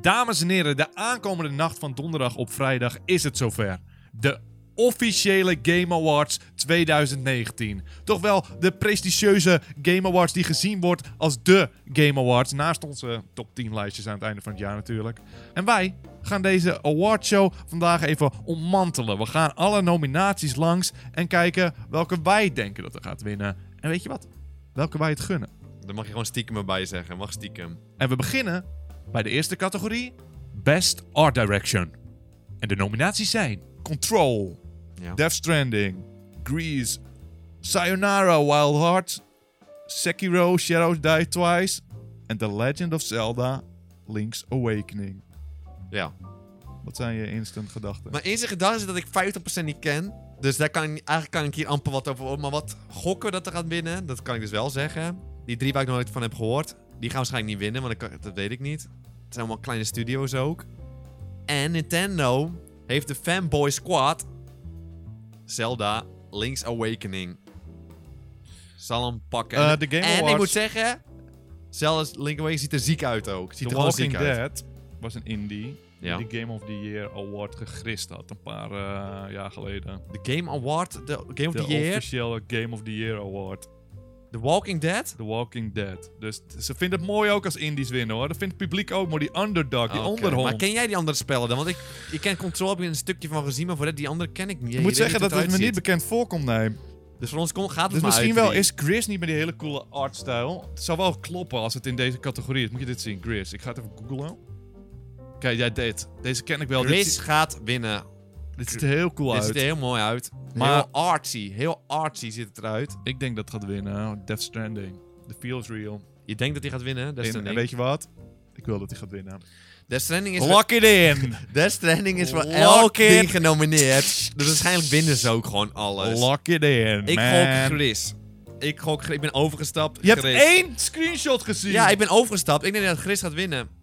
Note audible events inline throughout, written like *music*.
Dames en heren, de aankomende nacht van donderdag op vrijdag is het zover. De officiële Game Awards 2019. Toch wel de prestigieuze Game Awards die gezien wordt als de Game Awards. Naast onze top 10 lijstjes aan het einde van het jaar natuurlijk. En wij gaan deze awardshow vandaag even ommantelen. We gaan alle nominaties langs en kijken welke wij denken dat er gaat winnen. En weet je wat? Welke wij het gunnen. Daar mag je gewoon stiekem erbij zeggen. Mag stiekem. En we beginnen bij de eerste categorie: Best Art Direction. En de nominaties zijn Control, Ja. Death Stranding, Grease, Sayonara Wild Hearts, Sekiro Shadows Die Twice en The Legend of Zelda Link's Awakening. ja. Wat zijn je instant gedachten? Maar enige gedachte is dat ik 50% niet ken. Dus daar kan ik, niet- eigenlijk kan ik hier amper wat over op. Maar wat gokken dat er gaat winnen, dat kan ik dus wel zeggen. Die drie waar ik nog nooit van heb gehoord, die gaan waarschijnlijk niet winnen, want dat, kan- dat weet ik niet. Het zijn allemaal kleine studio's ook. En Nintendo heeft de fanboy squad Zelda Link's Awakening. Zal hem pakken. Eh, En- de Game en ik Awards- moet zeggen, Zelda's Link's Awakening ziet er ziek uit ook. Ziet The er gewoon ziek Walking uit. Dead was een indie Ja. die de Game of the Year Award gegrist had een paar eh, jaar geleden. De Game Award, de Game of de the Year, officiële Game of the Year Award. The Walking Dead. The Walking Dead. Dus t- ze vinden het mooi ook als indies winnen hoor. Dat vindt het publiek ook, maar die underdog, die Ah, Oké, onderhond. Maar ken jij die andere spellen dan? Want ik, ik ken Control, heb ik een stukje van gezien, maar voor dat, die andere ken ik niet. ik moet zeggen dat het me niet bekend voorkomt, nee. Dus voor ons kon, gaat het Dus maar misschien uit wel drie. is Gris niet met die hele coole artstijl. Het zou wel kloppen als het in deze categorie is. Moet je dit zien, Gris. Ik ga het even googlen. Kijk, jij deed. Deze ken ik wel. Dit, Riz zi- gaat winnen. dit ziet er heel cool Dit uit. ziet er heel mooi uit. Maar- Maar heel artsy. Heel artsy ziet het eruit. Ik denk dat het gaat winnen. Death Stranding. The feel is real. Je denkt dat hij gaat winnen. Death En- en Stranding. weet je wat? Ik wil dat hij gaat winnen. Death Stranding is, Lock it *laughs* in! voor, Death Stranding is voor Lock elk it. ding genomineerd. Dus waarschijnlijk winnen ze ook gewoon alles. Lock it in, ik man. gok Gris. Ik gok Gris. Ik ben overgestapt. Je hebt Gris. één screenshot gezien. Ja, ik ben overgestapt. Ik denk dat Gris gaat winnen.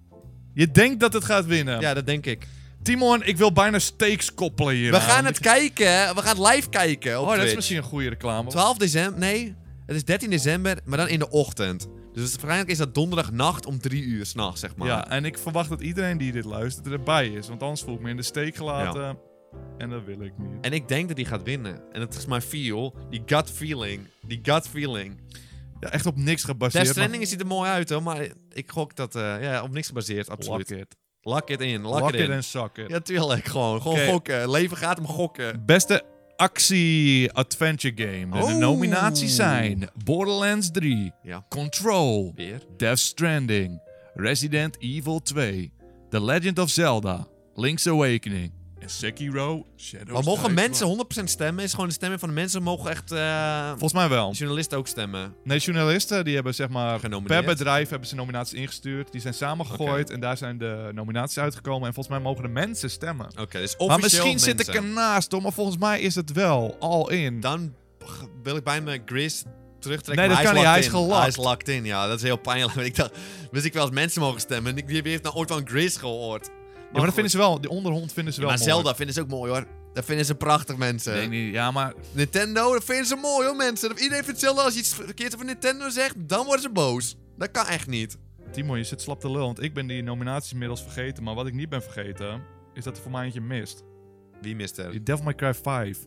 Je denkt dat het gaat winnen. Ja, dat denk ik. Timon, ik wil bijna steaks koppelen hier. We gaan het kijken. We gaan het live kijken op Oh, dat is Twitch. misschien een goede reclame. 12 december. Nee, het is 13 december, maar dan in de ochtend. Dus waarschijnlijk is dat donderdagnacht om 3 uur s'nachts, zeg maar. Ja, en ik verwacht dat iedereen die dit luistert erbij is. Want anders voel ik me in de steek gelaten. En dat wil ik niet. En ik denk dat hij gaat winnen. En dat is mijn feel. Die gut feeling. Die gut feeling. Ja, echt op niks gebaseerd. Death Stranding ziet er mooi uit, hoor. Maar ik gok dat... eh, ja, op niks gebaseerd, maar absoluut. Lock it. Lock it in. Lock, Lock it it in. en suck it. Ja, tuurlijk. Gewoon, gewoon Oké. gokken. Leven gaat om gokken. Beste actie-adventure game. En Oh. de nominaties zijn Borderlands 3, Ja. Control, Weer. Death Stranding, Resident Evil 2, The Legend of Zelda, Link's Awakening en Sekiro Shadows Maar mogen Die Twice. mensen 100% stemmen? Is gewoon de stemmen van de mensen mogen echt... eh, Volgens mij wel. journalisten ook stemmen. Nee, journalisten die hebben zeg maar per Genomineerd. bedrijf hebben ze nominaties ingestuurd. Die zijn samengegooid en daar zijn de nominaties uitgekomen. En volgens mij mogen de mensen stemmen. Oké, dus maar officieel misschien zit ik mensen. ernaast, hoor. Maar volgens mij is het wel al in. Dan g- wil ik bij me Gris terugtrekken. Nee, maar dat kan niet, hij is locked in. gelocked. Hij is locked in, ja. Dat is heel pijnlijk. *laughs* want Ik dacht, wist ik wel als mensen mogen stemmen. En ik- wie heeft nou ooit van Gris gehoord? ja, maar dat vinden ze wel. Die onderhond vinden ze wel Maar mooi. Zelda vinden ze ook mooi, hoor. Dat vinden ze prachtig, mensen. Nee, nee, ja, maar Nintendo, dat vinden ze mooi, hoor, mensen. Dat- Iedereen vindt Zelda als je iets verkeerds over Nintendo zegt, dan worden ze boos. Dat kan echt niet. Timo, je zit slap te lul. Want ik ben die nominaties inmiddels vergeten. Maar wat ik niet ben vergeten, is dat er voor mij eentje mist. Wie mist er? Die Devil May Cry 5.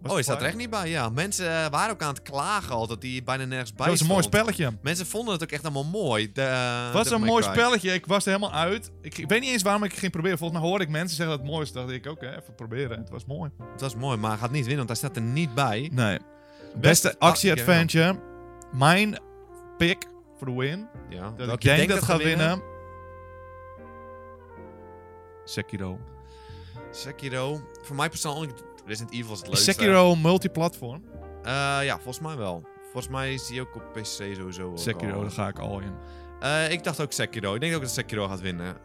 Was Oh, het is dat vijf? er echt niet bij? Ja, mensen eh, waren ook aan het klagen al dat die bijna nergens bij Dat was een mooi stond. spelletje. Mensen vonden het ook echt allemaal mooi. De, eh, Het was Ah, Devil een May mooi Cry. spelletje. Ik was er helemaal uit. Ik, ik weet niet eens waarom ik het ging proberen. Volgens mij hoorde ik mensen zeggen dat het mooi is. Dacht ik, oké, even proberen. Het was mooi. Het was mooi, maar hij gaat niet winnen, want hij staat er niet bij. Nee. Beste Beste actie-adventure. Mijn pick voor de win. Ja, Dat ik denk, dat gaat winnen. Sekiro. Sekiro. Voor mij persoonlijk, Resident Evil is het Is leukste. Sekiro multiplatform? Eh, ja, volgens mij wel. Volgens mij is die ook op PC sowieso. ook Sekiro, al. daar ga ik al in. Eh, ik dacht ook Sekiro. Ik denk ook dat Sekiro gaat winnen.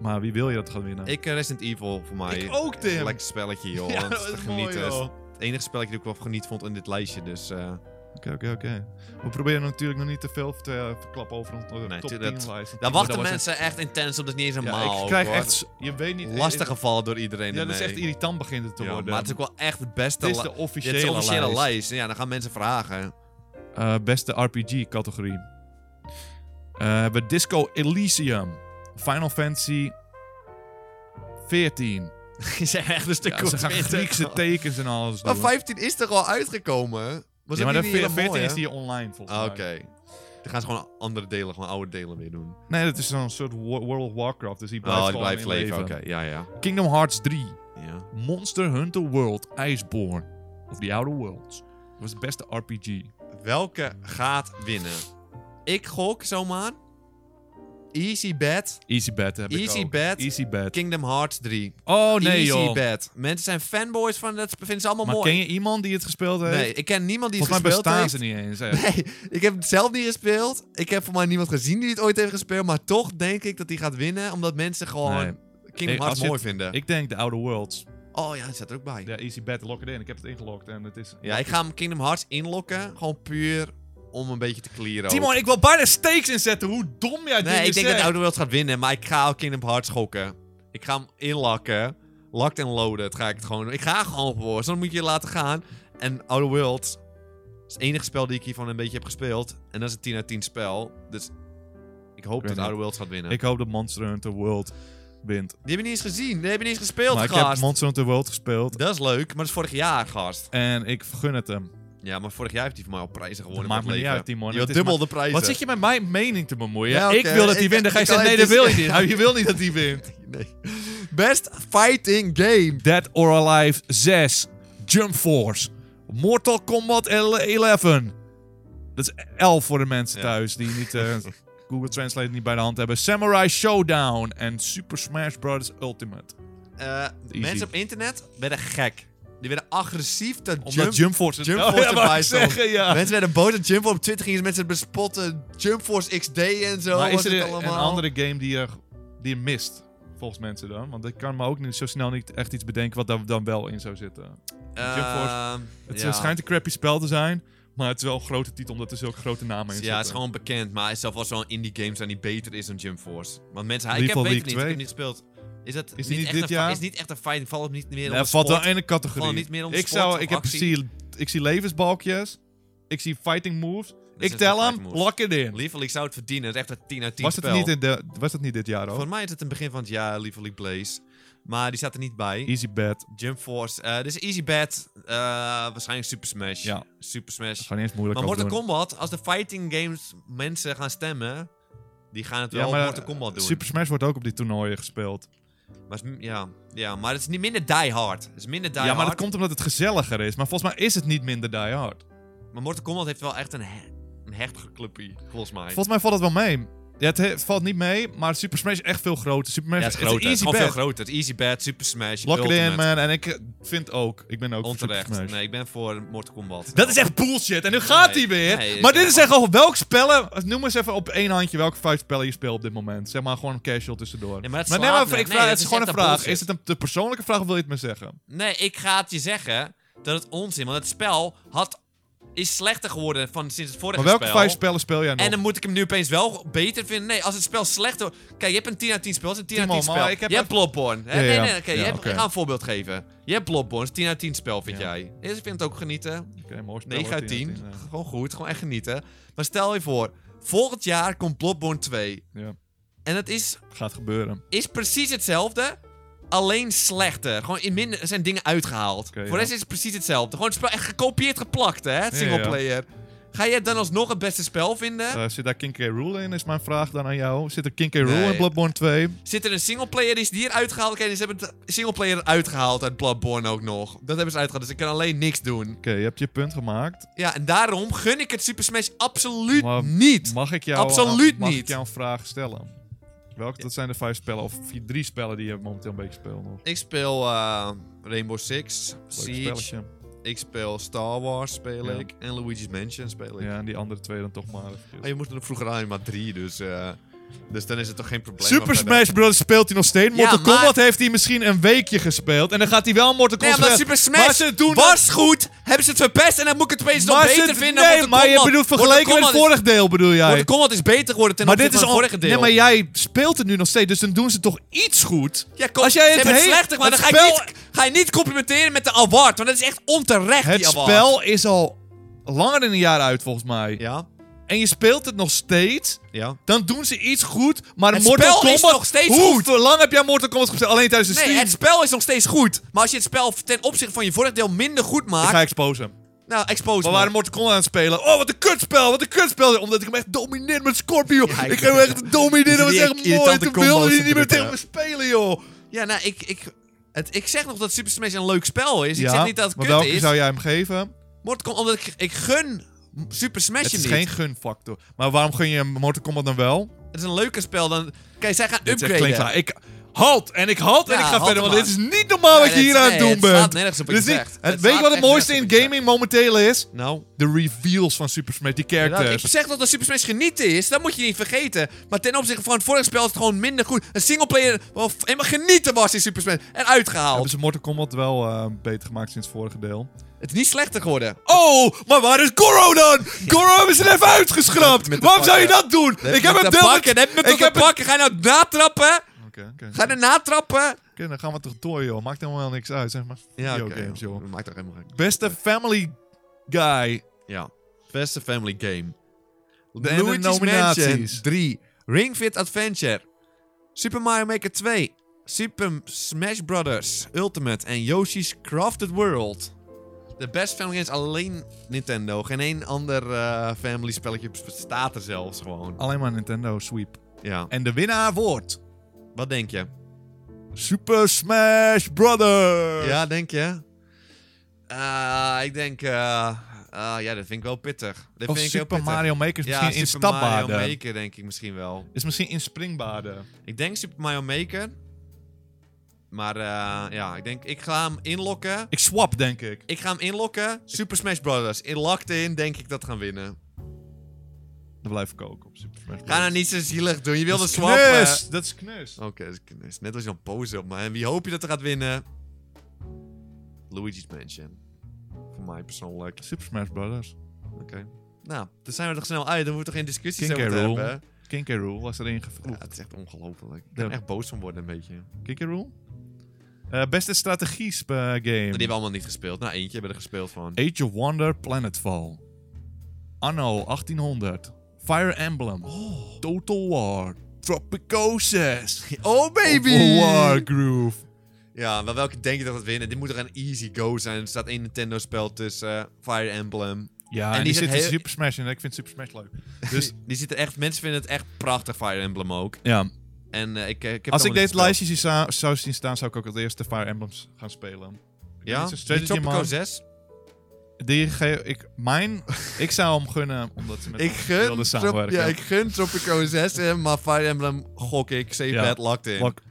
Maar wie wil je dat gaat winnen? *laughs* Ik eh, Resident Evil voor mij. Ik ook, Tim. Lekker spelletje, joh. *laughs* Ja, dat is eh, dat te is mooi, genieten. Dat is joh. het enige spelletje dat ik wel geniet vond in dit lijstje. Dus eh, Oké, oké, oké. We proberen natuurlijk nog niet te veel te eh, verklappen over onze Nee, top 10 lijst. tuurlijk. want daar Timo, wachten was mensen echt intens op. Dat is niet eens echt- normaal. Ja, ik krijg hoor. echt... s- Je weet niet... lastig gevallen door iedereen. Ja, dat is echt ermee. irritant begint het te Ja, worden. Maar het is ook wel echt het beste. Dit is li- de dit officiële, is de officiële lijst. lijst. Ja, dan gaan mensen *laughs* vragen. Eh, beste RPG-categorie. Eh, hebben we Disco Elysium, Final Fantasy 14. Ze zijn echt een stuk Ja, ze gaan Griekse *laughs* tekens en alles doen. Maar 15 is toch al uitgekomen? Was ja, ook maar de niet hele 14 mooie? is die online volgens Ah, mij. Oké. Dan gaan ze gewoon andere delen, gewoon oude delen weer doen. Nee, dat is zo'n soort wo- World of Warcraft, dus die blijft, Oh, die gewoon blijft in leven. Oké, ja, ja. Kingdom Hearts 3. ja. Monster Hunter World Iceborne. Of The Outer Worlds. Dat was het beste RPG. Welke gaat winnen? Ik gok zomaar. Easy bet. Easy bet heb ik Easy ook. bet. Easy bet. Kingdom Hearts 3. Oh nee Easy joh. bet. Mensen zijn fanboys van dat. Vinden ze allemaal Maar mooi. ken je iemand die het gespeeld heeft? Nee, ik ken niemand die het Volgens mij gespeeld bestaan heeft. ze niet eens. hè. Nee, ik heb het zelf niet gespeeld. Ik heb voor mij niemand gezien die het ooit heeft gespeeld. Maar toch denk ik dat hij gaat winnen. Omdat mensen gewoon Nee. Kingdom Ik- als Hearts je mooi het- vinden. Ik denk The Outer Worlds. Oh ja, die staat er ook bij. Ja, Easy bet, lock it in. Ik heb het ingelokt en het is... Ja, ik ga hem Kingdom Hearts inlokken. Gewoon puur om een beetje te clearen. ook. Timon, dus ik wil bijna stakes inzetten. Hoe dom jij nee, ik denk dat Outer Worlds gaat winnen. Maar ik ga ook Kingdom Hearts gokken. Ik ga hem inlokken. Locked en loaded ga ik het gewoon doen. Ik ga gewoon voor. Dus dan moet je je laten gaan. En Outer Worlds is het enige spel die ik hiervan een beetje heb gespeeld. En dat is een 10 uit 10 spel. Dus ik hoop weet dat niet. Outer Worlds gaat winnen. Ik hoop dat Monster Hunter World wint. Die hebben niet eens gezien. Die hebben niet eens gespeeld, maar ik heb gast. Monster Hunter World gespeeld. Dat is leuk, maar dat is vorig jaar, gast. En ik vergun het hem. Ja, maar vorig jaar heeft hij voor mij al prijzen gewonnen. maakt met me niet leven. uit, Timon. Je Het had is dubbel maar- de prijzen. Wat zit je met mijn mening te bemoeien? Ja, oké. Ik wil dat hij Ik- wint. Dan ga je ik kan zeggen, nee, dat het wil dus- je niet. Je wil niet dat hij wint. Nee. Best fighting game. Dead or Alive 6. Jump Force. Mortal Kombat 11. Dat is 11 voor de mensen Ja. thuis die niet *laughs* eh, Google Translate niet bij de hand hebben. Samurai Showdown en Super Smash Bros. Ultimate. Eh, mensen op internet werden gek. Die werden agressief dat Omdat Jump... Jump, Force, Jump Oh, ja, *laughs* Force wou ik erbij stond. zeggen, ja. Mensen werden boos dat Jump Force op Twitter gingen. ze Mensen bespotten Jump Force XD en zo. maar was is er het een allemaal. andere game die je, die je mist? Volgens mensen dan. Want ik kan me ook niet, zo snel niet echt iets bedenken wat daar dan wel in zou zitten. Eh, Jump Het ja. schijnt een crappy spel te zijn. Maar het is wel een grote titel omdat er zulke grote namen in zitten. Ja, het is gewoon bekend. Maar hij is zelf wel zo'n indie game zijn die beter is dan Jump Force. Want mensen, hij, ik Lethal heb het Week niet, ik heb 2. hem niet gespeeld. Is dat die niet niet echt dit een fi- jaar? Is niet echt een fight, valt hem niet meer Ja, onder het valt wel sport? in een categorie. Valt niet meer onder ik sport zou, of ik, heb, actie? zie, ik zie levensbalkjes. Ik zie fighting moves. ik is tel geen hem, fighting moves. lock it in. Lethal League zou het verdienen. Het is echt een 10 uit 10 Was spel. dat, niet in de, was dat niet dit jaar ook? Voor mij is het in het begin van het jaar Lethal League Blaze. Maar die staat er niet bij. Easy bet. Jump Force. eh dit is Easy Bet. eh, waarschijnlijk Super Smash. Ja. Super Smash. Gewoon eerst moeilijk Maar over Mortal doen. Kombat, als de fighting games mensen gaan stemmen, die gaan het Ja, wel op maar, Mortal Kombat doen. Super Smash wordt ook op die toernooien gespeeld. Maar, het is m- ja, ja, maar het is niet minder die hard. Het is minder die ja, maar dat hard. komt omdat het gezelliger is. Maar volgens mij is het niet minder die hard. Maar Mortal Kombat heeft wel echt een, he een heftige clubpie, volgens mij. Volgens mij valt het wel mee. Ja, het, he- het valt niet mee, maar Super Smash is echt veel groter. Super Smash ja, het is groter. Het is easy gewoon bet. veel groter. Het is Easy Bad, Super Smash, Lock it in, Ultimate. man. En ik eh, vind ook, ik ben ook voor Super Onterecht. Smash. Nee, ik ben voor Mortal Kombat. Dat is echt bullshit. En nu gaat Nee, hij weer. nee, ik maar heb dit is gewoon- echt al welk spellen. Noem eens even op één handje welke vijf spellen je speelt op dit moment. Zeg maar gewoon casual tussendoor. Nee, maar dat nee, slaat maar me. ik vraag, Nee, dat het is is gewoon een echt vraag. bullshit. Is het een de persoonlijke vraag of wil je het me zeggen? Nee, ik ga het je zeggen dat het onzin Want het spel had, is slechter geworden van, sinds het vorige Maar welke spel. vijf spellen speel jij nog? en dan moet ik hem nu opeens wel beter vinden. Nee, als het spel slechter... Kijk, je hebt een 10 uit 10 spel. Het is een 10 uit Timo, 10 spel. maar ik heb Je hebt even- Bloodborne. hè? Ja, nee, ja. nee, oké, Ja, je hebt, oké. Ik ga een voorbeeld geven. Je hebt Bloodborne. Het is 10 uit 10 spel, vind Ja. jij. Dus ik vind het ook genieten. Oké, mooi spel, 9 hoor, uit 10. ja. eh, Gewoon goed, gewoon echt genieten. Maar stel je voor, volgend jaar komt Bloodborne 2. Ja, En dat is, gaat gebeuren. is precies hetzelfde, alleen slechter. Gewoon in minder, er zijn dingen uitgehaald. Oké, voor de ja. rest is het precies hetzelfde. Gewoon het spel echt gekopieerd geplakt, hè, het Ja, singleplayer. Ga jij dan alsnog het beste spel vinden? Eh, zit daar King K. Rule in, is mijn vraag dan aan jou. Zit er King K. Rule Nee. in Bloodborne 2? Zit er een singleplayer, die is die eruit gehaald? Oké, dus ze hebben het singleplayer eruit gehaald uit Bloodborne ook nog. Dat hebben ze uitgehaald, dus ik kan alleen niks doen. Oké, je hebt je punt gemaakt. Ja, en daarom gun ik het Super Smash absoluut Maar *laughs* niet. Mag ik jou, Absoluut mag ik niet. jou een vraag stellen? Welke, dat zijn de vijf spellen of vier, drie spellen die je momenteel een beetje speelt nog. Ik speel eh, Rainbow Six, Leuk Siege, spelletje. ik speel Star Wars speel Ja. ik en Luigi's Mansion speel ik. Ja, en die andere twee dan toch maar. eventjes. Oh, je moest er vroeger alleen maar drie, dus, eh, dus dan is het toch geen probleem. Super Maar verder- Smash Bros. speelt hij nog steeds. Ja, Mortal maar- Kombat heeft hij misschien een weekje gespeeld. En dan gaat hij wel Mortal Nee, Kombat maar spelen. Super Smash Maar ze doen was goed, hebben ze het verpest en dan moet ik het opeens nog maar ze- beter vinden. Nee, Mortal maar je Kombat- bedoelt Mortal vergeleken met het Kombat vorige deel bedoel is- jij. Mortal Kombat is beter geworden ten maar opzichte dit is van al... het vorige deel. Nee, maar jij speelt het nu nog steeds. Dus dan doen ze toch iets goed. Ja, kom, Als jij ze het hebben hele- slechter, maar het dan ga, spel- ik niet, ga je niet complimenteren met de award, want dat is echt onterecht, Het die award. spel is al langer dan een jaar uit volgens mij. Ja, en je speelt het nog steeds, Ja. dan doen ze iets goed, maar Het Mortal spel Kombat... is nog steeds Hoe goed. te lang heb jij Mortal Kombat gespeeld? Alleen tijdens de Nee, stream? het spel is nog steeds goed. Maar als je het spel ten opzichte van je vorig deel minder goed Ik maakt... ga exposen. Nou, expose We me. waren Mortal Kombat aan het spelen. Oh, wat een kutspel, wat een kutspel. Omdat ik hem echt domineer met Scorpio. Ja, ik ik- heb hem echt domineer. Dat was Die echt mooi. irritante Toen wilde combo's hij niet meer te tegen me spelen, joh. Ja, nou, ik... ik het, ik zeg nog dat Super Smash een leuk spel is. Ik zeg niet dat het maar kut welke is. zou jij hem geven? Mortal Kombat, omdat ik, ik gun Super Smash Het hem is niet. geen gunfactor. Maar waarom gun je hem Mortal Kombat dan wel? Het is een leuker spel dan... Kijk, zij gaan Dit is echt upgraden. klinkklaar. Ik halt en ik halt en Ja, ik ga halt verder, hem want dit maar. is niet normaal wat je Nee, hier het- aan het nee, doen het bent. slaat nergens op wat Dit is je niet- zegt. het- Het weet je wat het slaat mooiste echt in nergens op wat je gaming momenteel is? Nou. De reveals van Super Smash, die Ja, nou, ik characters. zeg dat als Super Smash genieten is, dat moet je niet vergeten. Maar ten opzichte van het vorige spel is het gewoon minder goed. Een singleplayer waarvan helemaal genieten was in Super Smash. En uitgehaald. Hebben ze Mortal Kombat wel eh, beter gemaakt sinds het vorige deel? Het is niet slechter geworden. Oh, maar waar is Goro *laughs* dan? Goro hebben ze er even uitgeschrapt. Met de Waarom zou je pakken. dat doen? Met- ik heb Met hem de deel pakken, heb je ik met heb de pakken. Ga je nou natrappen? Oké, oké. Ga je er natrappen? Oké, dan gaan we toch door, joh. Maakt helemaal niks uit, zeg maar. Ja, Video oké. games, joh. Dat Maakt toch helemaal geen... Beste family guy. Ja. Beste family game. de Luigi's nominaties. Mansion 3. Ring Fit Adventure. Super Mario Maker 2. Super Smash Brothers Ultimate en Yoshi's Crafted World. De best family games alleen Nintendo. Geen één ander eh, family spelletje bestaat er zelfs gewoon. Alleen maar Nintendo sweep. Ja. En de winnaar wordt... Wat denk je? Super Smash Brothers. Ja, denk je? Eh, ik denk... eh ah, ja, dat vind ik wel pittig. Dat Of vind ik heel Super pittig. Mario Maker is ja, misschien Super Mario instapbaarder. Maker denk ik misschien wel. Is misschien inspringbaarder. Ik denk Super Mario Maker. Maar eh, ja, ik denk, ik ga hem inlokken. Ik swap, denk ik. Ik ga hem inlokken. Super Smash Brothers. In locked in, denk ik dat gaan winnen. Dan blijf ik ook op Super Smash Ga Brothers. nou niet zo zielig doen. Je wilde Dat is swappen. knus. Dat is knus. Oké, dat is knus. net als je een pose op me. En wie hoop je dat er gaat winnen? Luigi's Mansion. Voor mij persoonlijk. Super Smash Brothers. Oké. Nou, dan zijn we toch snel uit. Dan moeten we toch geen discussies King K. over Rool. hebben. King K. Rool was erin Ja, gevoegd. het is echt ongelooflijk. Ik Ja. kan er echt boos van worden een beetje. Die King K. Rool? Eh, beste strategie game. hebben we allemaal niet gespeeld. Nou, eentje hebben we er gespeeld van. Age of Wonder Planetfall. Anno 1800. Fire Emblem. Total War. Tropico 6. Oh War Groove. Ja, maar welke denk je dat gaat winnen? Dit moet er een easy go zijn. Er staat één Nintendo-spel tussen. eh, Fire Emblem. Ja, en, die die, zit zit in heel- Super Smash in. en Ik vind Super Smash *laughs* leuk. Dus Dus die zitten echt... Mensen vinden het echt prachtig, Fire Emblem ook. ja, En eh, ik, eh, ik heb als het ik deze allemaal niet gespeeld. lijstjes hier zou- zou zien staan, zou ik ook het eerste Fire Emblems gaan spelen. Dit is Ja? een Die strategy, Tropico man. 6? Die ge- ik, mijn, *laughs* ik zou hem gunnen omdat ze met Ik hem wilden gun, Trop- samenwerken. ja, ik gun Tropico 6, eh, maar Fire Emblem gok ik. Save Ja. that, locked in. Lok-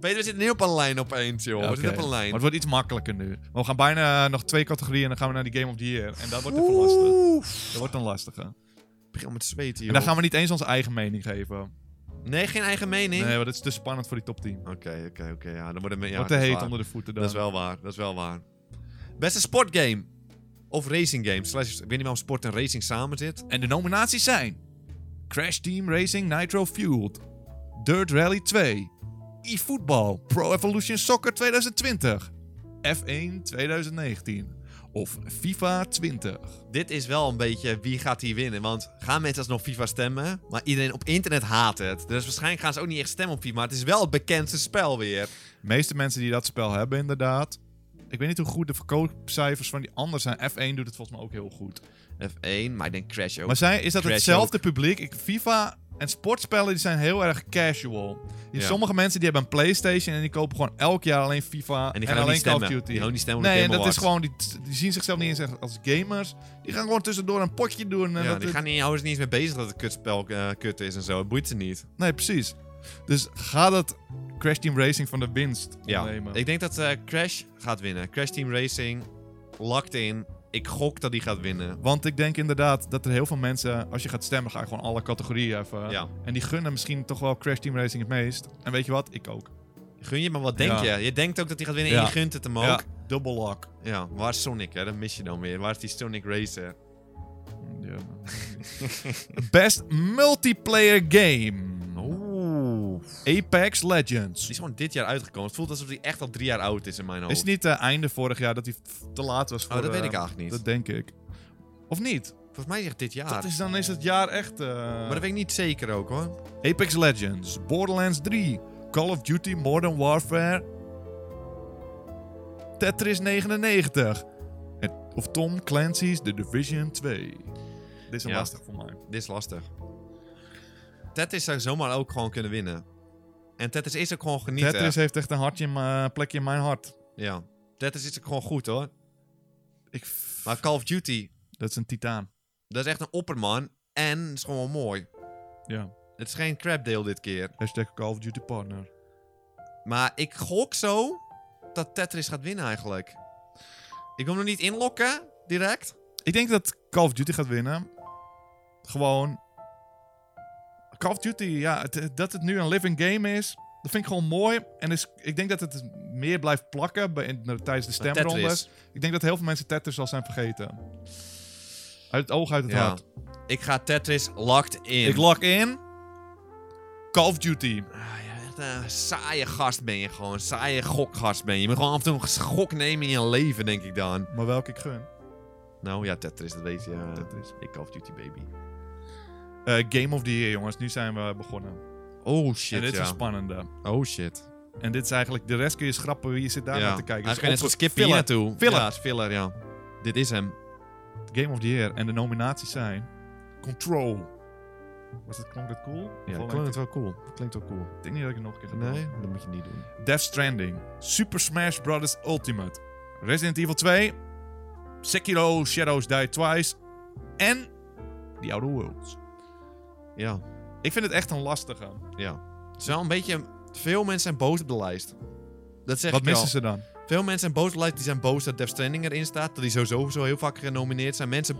Peter, we zitten nu op een lijn opeens, joh. Ja, We zitten oké. op een lijn. Maar het wordt iets makkelijker nu. Maar we gaan bijna nog twee categorieën en dan gaan we naar die Game of the Year. En dat wordt even lastig. Oeh, Dat wordt dan lastiger. ik begin met zweten, En joh. dan gaan we niet eens onze eigen mening geven. Nee, geen eigen mening? Nee, want dat is te spannend voor die top 10. Oké, oké, oké. Ja, dan worden we... Ja, Wat te dat is heet waar. onder de voeten dan. Dat is wel waar, dat is wel waar. Beste sportgame. Of racing game. Slash, ik weet niet waarom sport en racing samen zit. En de nominaties zijn... Crash Team Racing Nitro Fueled. Dirt Rally 2. eFootball Pro Evolution Soccer 2020. F1 2019. Of FIFA 20. Dit is wel een beetje wie gaat hier winnen. Want gaan mensen alsnog FIFA stemmen? Maar iedereen op internet haat het. Dus waarschijnlijk gaan ze ook niet echt stemmen op FIFA. Maar het is wel het bekendste spel weer. De meeste mensen die dat spel hebben, inderdaad. Ik weet niet hoe goed de verkoopcijfers van die anderen zijn. F1 doet het volgens mij ook heel goed. F1, maar ik denk Crash ook. Maar zijn, is dat Crash hetzelfde publiek? Ik, FIFA en sportspellen die zijn heel erg casual. Die Ja. Sommige mensen die hebben een PlayStation en die kopen gewoon elk jaar alleen FIFA en en, die gaan ook alleen niet Call of stemmen. Duty. Die gaan ook niet stemmen op nee, de en Game dat is Awards. gewoon, die, die zien zichzelf niet eens echt als gamers. Die gaan gewoon tussendoor een potje doen. En Ja, dat- die gaan niet, houden ze niet eens mee bezig dat het kutspel eh, kut is en zo. Het boeit ze niet. Nee, precies. Dus ga dat Crash Team Racing van de winst Ja, nemen. ik denk dat eh, Crash gaat winnen. Crash Team Racing, locked in. Ik gok dat die gaat winnen. Want ik denk inderdaad dat er heel veel mensen, als je gaat stemmen, ga je gewoon alle categorieën even. Ja. En die gunnen misschien toch wel Crash Team Racing het meest. En weet je wat? Ik ook. Gun je, maar wat denk Ja. je? Je denkt ook dat hij gaat winnen Ja. en je gunt het hem ook. Ja, Ja. double lock. waar is Sonic, hè? Dat mis je dan weer. Waar is die Sonic Racer? Ja. *laughs* Best multiplayer game. Oeh. Apex Die Legends. is gewoon dit jaar uitgekomen. Het voelt alsof die echt al drie jaar oud is in mijn hoofd. Is het niet eh, einde vorig jaar dat hij te laat was voor... Oh, dat eh, weet ik eigenlijk niet. Dat denk ik. Of niet? Volgens mij zegt dit jaar. Dat is, dan is het jaar echt... eh, Maar dat weet ik niet zeker ook hoor. Apex Legends, Borderlands 3, Call of Duty Modern Warfare, Tetris 99 en, of Tom Clancy's The Division 2. Dit is een Ja. lastig voor mij. Dit is lastig. Tetris zou zomaar ook gewoon kunnen winnen. En Tetris is ook gewoon genieten. Tetris heeft echt een hartje in mijn- plekje in mijn hart. Ja. Tetris is ook gewoon goed hoor. Ik, Maar Call of Duty, dat is een titaan. dat is echt een opperman. En het is gewoon mooi. Ja. Het is geen crapdeel dit keer. Hashtag Call of Duty Partner. Maar ik gok zo dat Tetris gaat winnen eigenlijk. Ik wil hem nog niet inlokken, direct. Ik denk dat Call of Duty gaat winnen. Gewoon. Call of Duty, ja, het- dat het nu een living game is. Dat vind ik gewoon mooi. En is, ik denk dat het meer blijft plakken bij, in- tijdens de Maar stemrondes. Tetris. Ik denk dat heel veel mensen Tetris al zijn vergeten. Uit het oog, uit het Ja. hart. Ik ga Tetris locked in. Ik log in. Call of Duty. Ah, ja, echt een saaie gast ben je gewoon. Een saaie gokgast ben je. Je moet gewoon af en toe een gok nemen in je leven, denk ik dan. Maar welke ik gun. Nou ja, Tetris, dat weet je. ja. Tetris. Ik Call of Duty baby. Eh, game of the Year, jongens. Nu zijn we begonnen. Oh en dit shit, is een ja. spannende. Oh shit. En dit is eigenlijk... De rest kun je schrappen. Wie zit daar ja. naar te kijken? Hij Dus kan net op- skippen hier filler. naartoe. Filler. Ja, het is filler, ja. Dit is hem. Game of the Year en de nominaties zijn Control. Was dat, klonk dat cool? Of Ja, alleen- ik vond het wel cool. Klinkt wel cool. ik denk niet dat ik het nog een keer ga doen. Nee, dat moet je niet doen. Death Stranding, Super Smash Bros. Ultimate, Resident Evil 2, Sekiro Shadows Die Twice en The Outer Worlds. Ja, Ik vind het echt een lastige. ja. Het is wel een beetje... Veel mensen zijn boos op de lijst. Dat zeg Wat ik je al. missen ze dan? Veel mensen zijn boos op de lijst. Die zijn boos dat Death Stranding erin staat. Dat die sowieso zo heel vaak genomineerd zijn. Mensen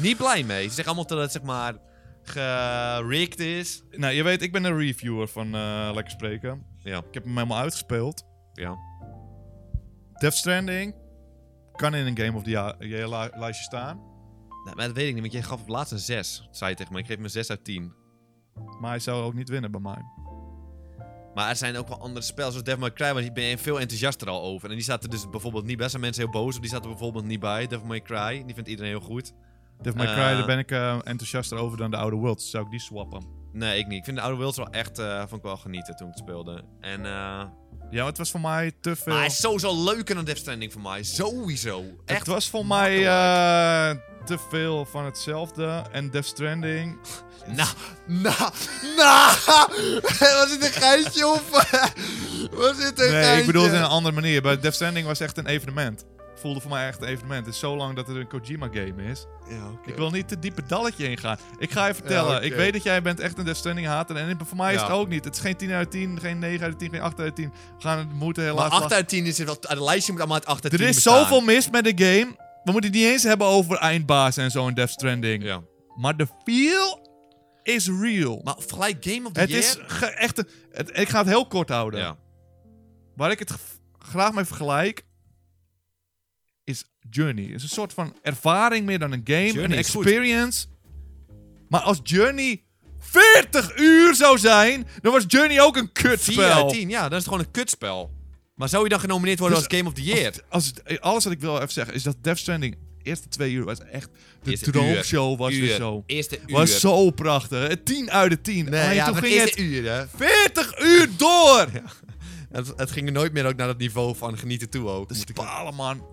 niet blij mee. Ze zeggen allemaal dat het zeg maar gerikt is. Nou, je weet, ik ben een reviewer van eh, Lekker Spreken. Ja. Ik heb hem helemaal uitgespeeld. Ja. Death Stranding kan in een Game of the Year Year li- lijstje staan. Nou, maar dat weet ik niet, want jij gaf op laatst een 6, zei je tegen me. Ik geef hem een 6 uit 10. Maar hij zou ook niet winnen bij mij. Maar er zijn ook wel andere spellen, zoals Devil May Cry, want daar ben je veel enthousiaster al over. En die staat er dus bijvoorbeeld niet bij. Er zijn mensen heel boos op, die staat er bijvoorbeeld niet bij. Devil May Cry, die vindt iedereen heel goed. Devil May Eh. Cry, daar ben ik eh, enthousiaster over dan de oude Worlds. Zou ik die swappen? Nee, ik niet. Ik vind de Outer Worlds wel echt, eh vond ik wel genieten toen ik het speelde. En, eh, Ja, maar het was voor mij te veel. Maar hij is sowieso leuker dan Death Stranding voor mij. Sowieso. Het Echt. was voor mij eh, te veel van hetzelfde. En Death *laughs* Stranding. Nou, nou, nou. *laughs* Was dit een geintje of... *laughs* Was dit een Nee, ik bedoel het in een andere manier. Bij Death Stranding was echt een evenement. Voelde voor mij echt een evenement. Het is zo lang dat het een Kojima-game is. Ja, oké. Ik wil niet te diepe dalletje ingaan. Ik ga je vertellen. Ja, oké. Ik weet dat jij bent echt een Death Stranding hater. En voor mij is Ja. het ook niet. Het is geen 10 uit 10, geen 9 uit 10, geen 8 uit 10. We gaan het moeten helaas... Maar 8 laten. uit 10 is het wel... Het lijstje moet allemaal uit 8 uit Er 10 is bestaan. zoveel mis met de game. We moeten het niet eens hebben over eindbaas en zo in Death Stranding. Ja. Maar de feel is real. Maar vergelijk Game of the het Year... is ge- echt... een- het- ik ga het heel kort houden. Ja. Waar ik het g- graag mee vergelijk... is Journey. Het is een soort van ervaring meer dan een game. Journey een is goed. experience. Maar als Journey 40 uur zou zijn... dan was Journey ook een 4 uit kutspel. 10, ja. Dan is het gewoon een kutspel. Maar zou je dan genomineerd worden Dus- als Game of the Year? Als, het- eh, alles wat ik wil even zeggen is dat Death Stranding... eerste twee uur was echt... de Eerste droomshow uur, was uur, weer zo. Eerste uur. Was zo prachtig. Eh, 10 uit de 10. Nee, en ja, toen maar ging eerste het uur, hè. 40 uur door. Het, het ging er nooit meer ook naar dat niveau van genieten toe ook. De moet ik- spalen, man.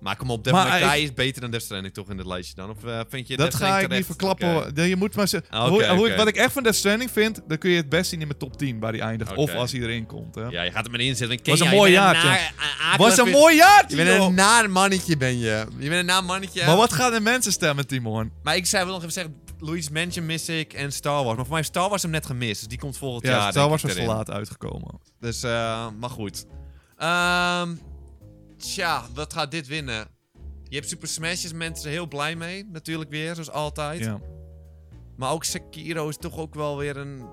Maar kom op, Devil Maar May Cry ik- is beter dan Death Stranding toch in dit lijstje dan? Of eh, vind je Dat Death ga ik Stranding niet terecht? verklappen. Oké. hoor. Nee, Je moet maar ze- Ah, oké, hoe, hoe ik- oké. wat ik echt van Death Stranding vind, dan kun je het best zien in mijn top 10 waar die eindigt. Oké. Of als hij erin komt. Hè. Ja, je gaat hem erin zetten. want Was Kenya, een mooi je bent jaartje. naar- a- akelig Was een weer- mooi Ah, Je jaartje, bent joh. een naar mannetje, ben je. Je bent een naar mannetje. Maar wat gaan de mensen stemmen, Timon? Maar ik zei wel nog even zeggen, Luigi's Mansion mis ik en Star Wars. Maar voor mij heeft Star Wars hem net gemist, dus die komt volgend Ja, jaar. ja denk Star Wars ik, was te erin. laat uitgekomen. Dus, eh, maar goed. Ehm tja, wat gaat dit winnen? Je hebt Super Smash, is mensen heel blij mee. Natuurlijk weer, zoals altijd. Ja. Maar ook Sekiro is toch ook wel weer een...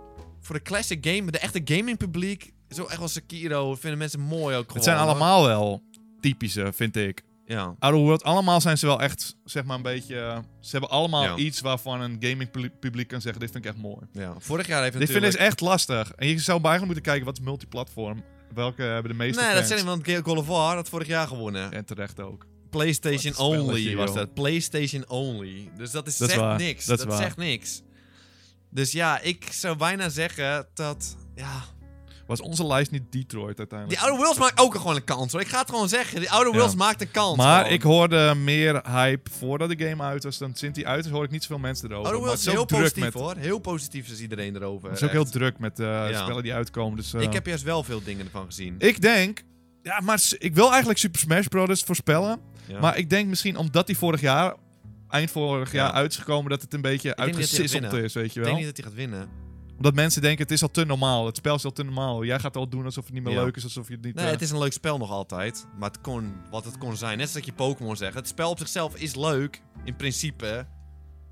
Voor de classic game, de echte gaming publiek... Is ook echt wel Sekiro. Vinden mensen mooi ook gewoon. Het zijn hoor. allemaal wel typische, vind ik. Ja. Outer World, allemaal zijn ze wel echt, zeg maar een beetje... eh, Ze hebben allemaal Ja. iets waarvan een gaming publiek- publiek kan zeggen, dit vind ik echt mooi. ja. Vorig jaar heeft Dit vind ik natuurlijk... echt lastig. En je zou bijna moeten kijken, wat is multiplatform? Welke hebben de meeste Nee, dat fans? zijn want Gear God of War had vorig jaar gewonnen. En terecht ook. PlayStation Wat een spelletje, only was joh. dat. PlayStation only. Dus dat is Dat is zegt waar, niks. dat Dat, is waar. zegt niks. Dus ja, ik zou bijna zeggen dat. Ja. Was onze lijst niet Detroit uiteindelijk? Die Outer Worlds maakt ook gewoon een kans hoor. Ik ga het gewoon zeggen. Die Outer Worlds Ja. maakt een kans. maar gewoon. ik hoorde meer hype voordat de game uit was dan sinds die uit is. Hoor ik niet zoveel mensen erover. Outer Maar Worlds is het Oh, heel ook druk positief met, hoor. Heel positief is iedereen erover. Het is ook echt. heel druk met eh, Ja. spellen die uitkomen. Dus, eh, Ik heb juist wel veel dingen ervan gezien. ik denk... Ja, maar s- ik wil eigenlijk Super Smash Bros. voorspellen. Ja. Maar ik denk misschien omdat die vorig jaar, eind vorig jaar Ja. uit is gekomen, dat het een beetje denk niet dat die uitgesisseld gaat winnen. is, weet je ik wel. denk niet dat hij gaat winnen. Omdat mensen denken, het is al te normaal. Het spel is al te normaal. Jij gaat al doen alsof het niet meer Ja. leuk is, alsof je het niet... Nee, eh, het is een leuk spel nog altijd. Maar het kon, wat het kon zijn. Net zoals dat je Pokémon zegt. Het spel op zichzelf is leuk, in principe.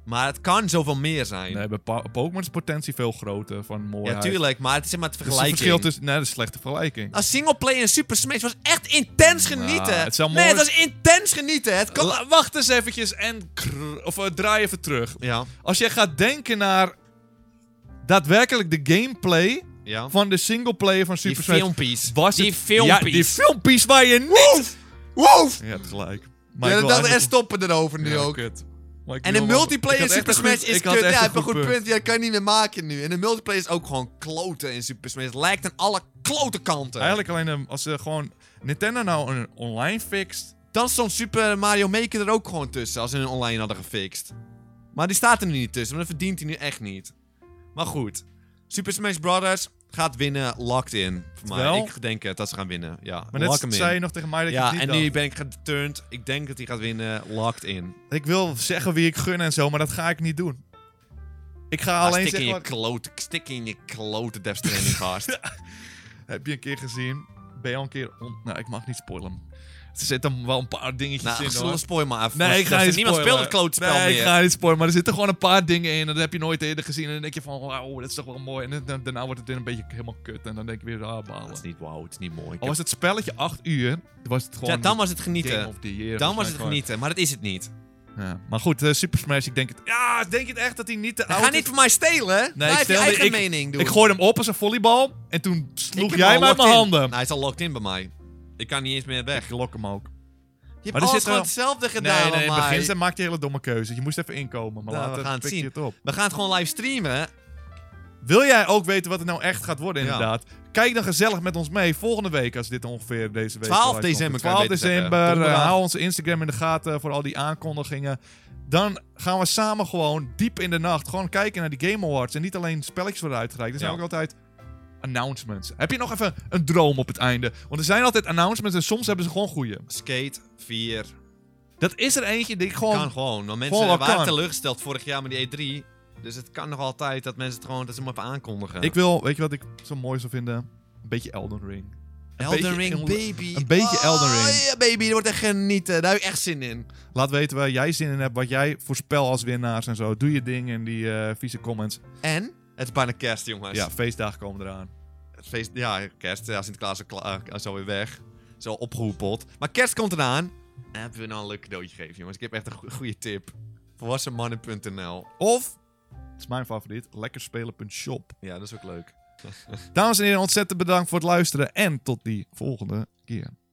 Maar het kan zoveel meer zijn. Nee, bij Po- Pokémon is de potentie veel groter van mooiheid. ja, tuurlijk, maar het is maar Dus het het vergelijken. verschil tussen... Nee, dat is een slechte vergelijking. Als singleplayer en Super Smash was echt intens genieten. Nou, het is wel Nee, mooi- het was intens genieten. Het kan... La- wacht eens eventjes en kr- of, eh, draai even terug. Ja, Als jij gaat denken naar daadwerkelijk de gameplay ja. van de singleplayer van Die Super Smash... filmpiece. was die het- filmpiece. Ja, die filmpiece waar je niet... Woef! Ja, gelijk. Maar Ja, ik wil dat, en eigenlijk- stoppen erover nu Ja, ook. kut. Maar ik En de wil wel- ik multiplayer had echt Super een goed- Smash is ik had kut. echt Ja, heb een goed punt. punt. Ja, dat kan je niet meer maken nu. En de multiplayer is ook gewoon kloten in Super Smash. Het lijkt aan alle klote kanten. Eigenlijk alleen ehm, als ze gewoon Nintendo nou een online fixt. Dan stond Super Mario Maker er ook gewoon tussen als ze hun online hadden gefixt. Maar die staat er nu niet tussen, want dat verdient hij nu echt niet. Maar goed, Super Smash Brothers gaat winnen, locked in. Voor mij. Wel? Ik denk het, dat ze gaan winnen. Ja, Maar lock net hem zei je in. nog tegen mij dat Ja, je het en niet nu ben ik geturnd. Ik denk dat hij gaat winnen, locked in. dacht. Ik wil zeggen wie ik gun en zo, maar dat ga ik niet doen. Ik ga Alleen alleen stik, zeggen... Ah, in je wat- klote, stik in je klote *laughs* Death Stranding gast. Heb je een keer gezien? Ben je al een keer... on- Nou, ik mag niet spoilen. Er zitten wel een paar dingetjes nou, in hoor. zullen spoil maar af. Nee, ik ga niet Niemand speelt spoilen. het klootspel Nee, meer. ik ga niet spoilen. Maar er zitten gewoon een paar dingen in. En dat heb je nooit eerder gezien. En dan denk je van, wauw, dat is toch wel mooi. En dan- dan- daarna wordt het weer een beetje helemaal kut. En dan denk ik weer, ah, Dat balen. is niet wauw, het is niet mooi. Ik Al was het spelletje 8 uur, was het heb- gewoon... Oh, ja, dan was het de Game genieten. of the Year, Dan volgens was het mij gewoon. genieten, maar dat is het niet. Ja, maar goed, eh, Super Smash, ik denk het... Ja, denk je het echt dat hij niet de Ga oude... niet voor mij stelen. Nee, Nee, ik Blijf je stelde- eigen ik- mening doen. Ik gooide hem op als een volleybal en toen Ik sloeg heb jij hem hem al uit mijn locked in. handen. Nou, Nou, hij is al locked in bij mij. Ik kan niet eens meer weg. Ik lok hem ook. Je Maar hebt er alles zit gewoon wel- hetzelfde Nee, gedaan nee, in aan het mij. begin ze- maakte je hele domme keuzes. Je moest even inkomen, maar Nou, we later gaan het pik je zien. het op. We gaan het gewoon live streamen. Wil jij ook weten wat het nou echt gaat worden, Ja. inderdaad? Kijk dan gezellig met ons mee volgende week, als dit ongeveer deze week... 12 eruit komt. december, kan je 12 beter zeggen. december, eh, Donderdag. hou onze Instagram in de gaten voor al die aankondigingen. Dan gaan we samen gewoon diep in de nacht gewoon kijken naar die Game Awards. En niet alleen spelletjes worden uitgereikt, er zijn Ja. ook altijd announcements. Heb je nog even een droom op het einde? Want er zijn altijd announcements en soms hebben ze gewoon goeie. Skate 4. Dat is er eentje die ik Kan gewoon... gewoon. Want mensen Gewoon wel waren kan. teleurgesteld vorig jaar met die E3. Dus het kan nog altijd dat mensen het gewoon dat ze hem even aankondigen. Ik wil, weet je wat ik zo mooi zou vinden? Een beetje Elden Ring. Een Elden beetje Ring, in- baby. een beetje Ah, Elden Ring. Ja, baby, dat wordt echt genieten. Daar heb ik echt zin in. Laat weten waar jij zin in hebt, wat jij voorspel als winnaars en zo. Doe je ding in die eh, vieze comments. En? Het is bijna kerst, jongens. Ja, feestdagen komen eraan. Het feest, ja, kerst. Ja, Sinterklaas is, klaar, eh, is alweer weg. Is al opgehoepeld. Maar kerst komt eraan. En hebben we nou een leuk cadeautje gegeven, jongens. Ik heb echt een goe- goede tip. Volwassenmannen.nl Of, het is mijn favoriet, lekkerspelen.shop. Ja, dat is ook leuk. Dames en heren, ontzettend bedankt voor het luisteren en tot die volgende keer.